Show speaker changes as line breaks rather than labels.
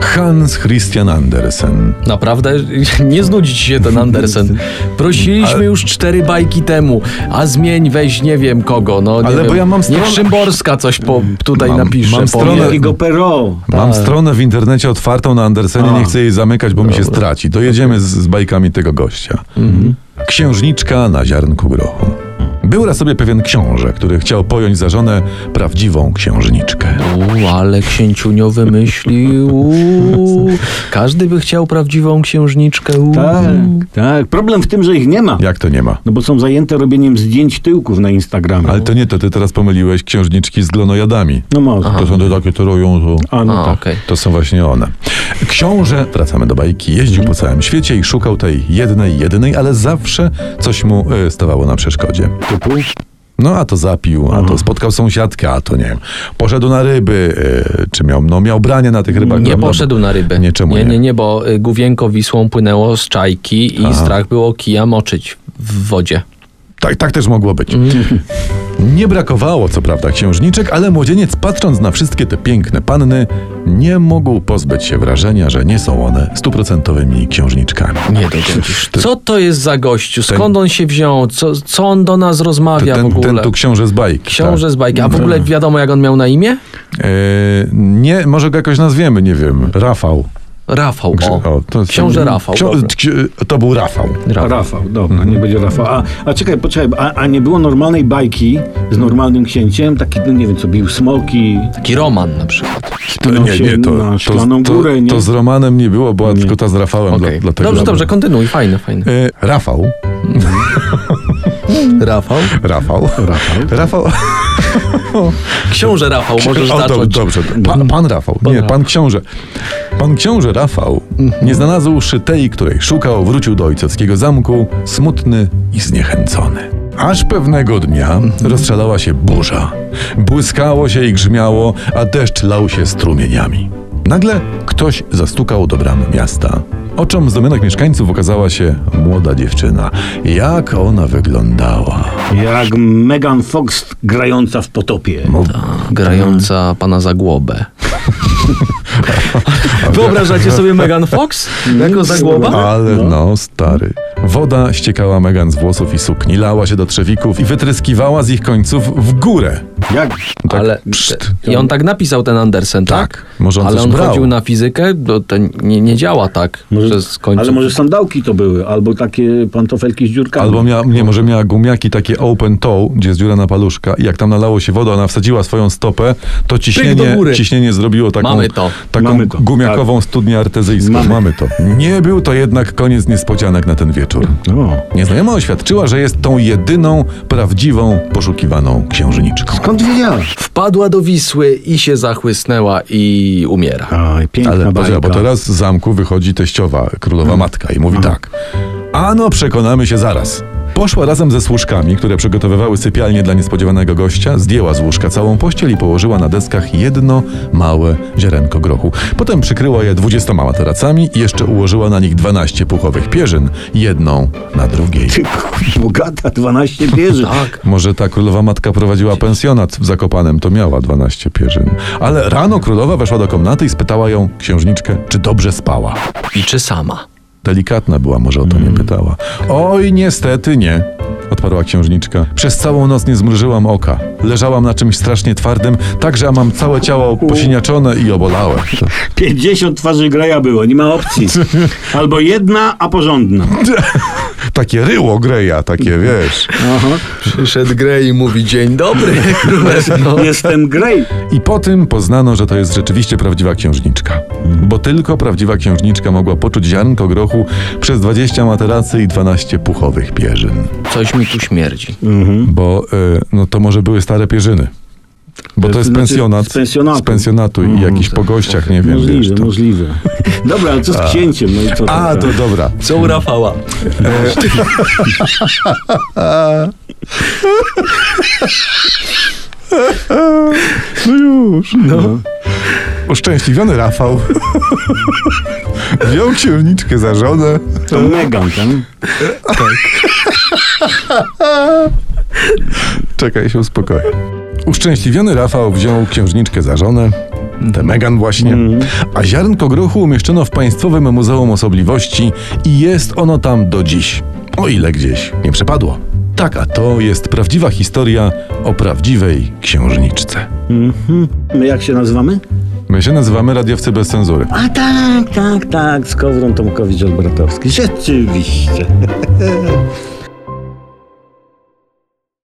Hans Christian Andersen.
Naprawdę, nie znudzi ci się ten Andersen. Prosiliśmy
Ale-
już cztery bajki temu, a zmień, weź nie wiem kogo. No, nie
Ale
wiem.
bo ja mam
Niech
stronę-
Szymborska coś po, tutaj
Mam-
napisze.
mam
powie.
stronę-
Jakiego Perrault.
Mam stronę w internecie otwartą na Andersenie, nie chcę jej zamykać, bo mi się straci. To jedziemy z, z bajkami tego gościa. Księżniczka na ziarnku grochu. Był raz sobie pewien książę, który chciał pojąć za żonę prawdziwą księżniczkę.
U, ale księciunio wymyślił. U, Każdy by chciał prawdziwą księżniczkę. U.
Tak,
Mhm.
tak. Problem w tym, że ich nie ma.
Jak to nie ma?
No bo są zajęte robieniem zdjęć tyłków na Instagramie.
Ale to nie to, ty teraz pomyliłeś księżniczki z glonojadami.
No może.
To są te takie, które roją to...
A no
A,
tak.
okej.
To są właśnie one. Książę, wracamy do bajki, jeździł po całym świecie i szukał tej jednej, jedynej, ale zawsze coś mu y, stawało na przeszkodzie.
Typu?
No a to zapił, a
Mhm.
to spotkał sąsiadkę, a to nie wiem. Poszedł na ryby, y, czy miał, no, miał branie na tych rybach. No,
Nie
prawda?
poszedł na ryby.
Nie, czemu
nie,
nie?
nie, nie, bo y, główienko Wisłą płynęło z czajki i strach było kija moczyć w wodzie.
Tak, tak też mogło być.
Mhm.
Nie brakowało co prawda księżniczek, ale młodzieniec patrząc na wszystkie te piękne panny, nie mógł pozbyć się wrażenia, że nie są one stuprocentowymi księżniczkami.
Nie dogodzisz. Co to jest za gościu? Skąd on się wziął? Co, co on do nas rozmawia w
ten,
ogóle?
ten tu książę z bajki.
Książę
tak.
z bajki. A w ogóle wiadomo, jak on miał na imię?
E, nie, może go jakoś nazwiemy, nie wiem. Rafał.
Rafał.
Grze-
O.
to-
Książę Rafał.
Ksią-
dobra.
ksi- to był Rafał.
Rafał, dobra,
Mhm.
nie będzie Rafał. A, a czekaj, poczekaj, a, a nie było normalnej bajki z normalnym księciem? Taki, no nie wiem co, bił smoki,
Taki Roman na przykład.
To,
Wspinał No się na szklaną
to,
górę, nie?
to z Romanem nie było, była tylko ta z Rafałem.
Okej.
Dla, dlatego
Dobrze, dobrze, kontynuuj. Fajne, fajne.
E, Rafał. Y,
Rafał.
Rafał.
Rafał.
E, Rafał.
Książę Rafał, możesz
O, dobrze,
zacząć.
dobrze. Pan, pan Rafał. nie,
Rafał. Mhm.
pan książę. Pan książę Rafał, nie znalazłszy tej, której szukał, wrócił do ojcowskiego zamku, smutny i zniechęcony. Aż pewnego dnia
Mhm.
rozstrzelała się burza. Błyskało się i grzmiało, a deszcz lał się strumieniami. Nagle ktoś zastukał do bram miasta. Oczom znamionych mieszkańców okazała się młoda dziewczyna. Jak ona wyglądała?
jak Megan Fox grająca w potopie.
No.
Grająca pana za głowę. Wyobrażacie sobie Megan Fox jako zagłoba?
Ale no, stary. Woda ściekała Megan z włosów i sukni, lała się do trzewików i wytryskiwała z ich końców w górę.
Jak
Tak,
Ale
pszt.
i on tak napisał ten Andersen, tak?
Tak, może on
Ale
coś
on
brał.
chodził na fizykę, to, to nie, nie działa tak
Może-
przez końców.
Ale może sandałki to były, albo takie pantofelki z dziurkami.
Albo miała, nie, może miała gumiaki takie open toe, gdzie jest dziura na paluszka i jak tam nalało się woda, ona wsadziła swoją stopę, to
do
ciśnienie,
góry.
ciśnienie zrobiło taką,
Mamy to.
taką
Mamy to, tak.
gumiakową studnię artezyjską.
Mamy.
Mamy to. Nie był to jednak koniec niespodzianek na ten wieczór.
O.
Nieznajoma oświadczyła, że jest tą jedyną, prawdziwą, poszukiwaną księżniczką.
Skąd wiedziałeś?
Wpadła do Wisły i się zachłysnęła i umiera.
Aj, piękna
Ale
bajka.
poczekaj, bo teraz z zamku wychodzi teściowa, królowa matka i mówi tak. Ano, przekonamy się zaraz. Poszła razem ze służkami, które przygotowywały sypialnię dla niespodziewanego gościa, zdjęła z łóżka całą pościel i położyła na deskach jedno małe ziarenko grochu. Potem przykryła je dwudziestoma materacami i jeszcze ułożyła na nich 12 puchowych pierzyn, jedną na drugiej.
Ty, kurwa, bogata, 12 bierze.
Tak.
Może ta królowa matka prowadziła pensjonat w Zakopanem, to miała 12 pierzyn. Ale rano królowa weszła do komnaty i spytała ją, księżniczkę, czy dobrze spała.
I czy sama?
Delikatna była, może o to nie pytała. Oj, niestety nie, odparła księżniczka. Przez całą noc nie zmrużyłam oka. Leżałam na czymś strasznie twardym, tak że mam całe ciało posiniaczone i obolałe.
50 twarzy graja było, nie ma opcji. Albo jedna, a porządna.
Takie ryło greja, takie wiesz.
Aha.
Przyszedł Grey i mówi dzień dobry, królewno.
Jestem grej.
I po tym poznano, że to jest rzeczywiście prawdziwa księżniczka. Bo tylko prawdziwa księżniczka mogła poczuć ziarnko grochu przez 20 materacy i 12 puchowych pierzyn.
Coś mi tu śmierdzi.
Bo y, no to może były stare pierzyny. Bo to jest
Znaczy,
pensjonat.
z pensjonatu. Mhm.
Z pensjonatu i jakiś po gościach, nie wiem. Wiesz,
Możliwe,
to.
możliwe. Dobra, ale co z księciem? No i co
A,
tam?
to dobra.
Co u Rafała?
No już. No. Uszczęśliwiony Rafał. Wziął księżniczkę za żonę.
To Megan, tak? tam.
Czekaj, się uspokoję. Uszczęśliwiony Rafał wziął księżniczkę za żonę. tę Megan właśnie. A ziarnko grochu umieszczono w Państwowym Muzeum Osobliwości i jest ono tam do dziś. O ile gdzieś nie przepadło. Taka to jest prawdziwa historia o prawdziwej księżniczce.
Mhm. My jak się nazywamy?
My się nazywamy Radiowcy Bez Cenzury.
A tak, tak, tak, Skowron Tomkowicz-Olbratowski. Rzeczywiście.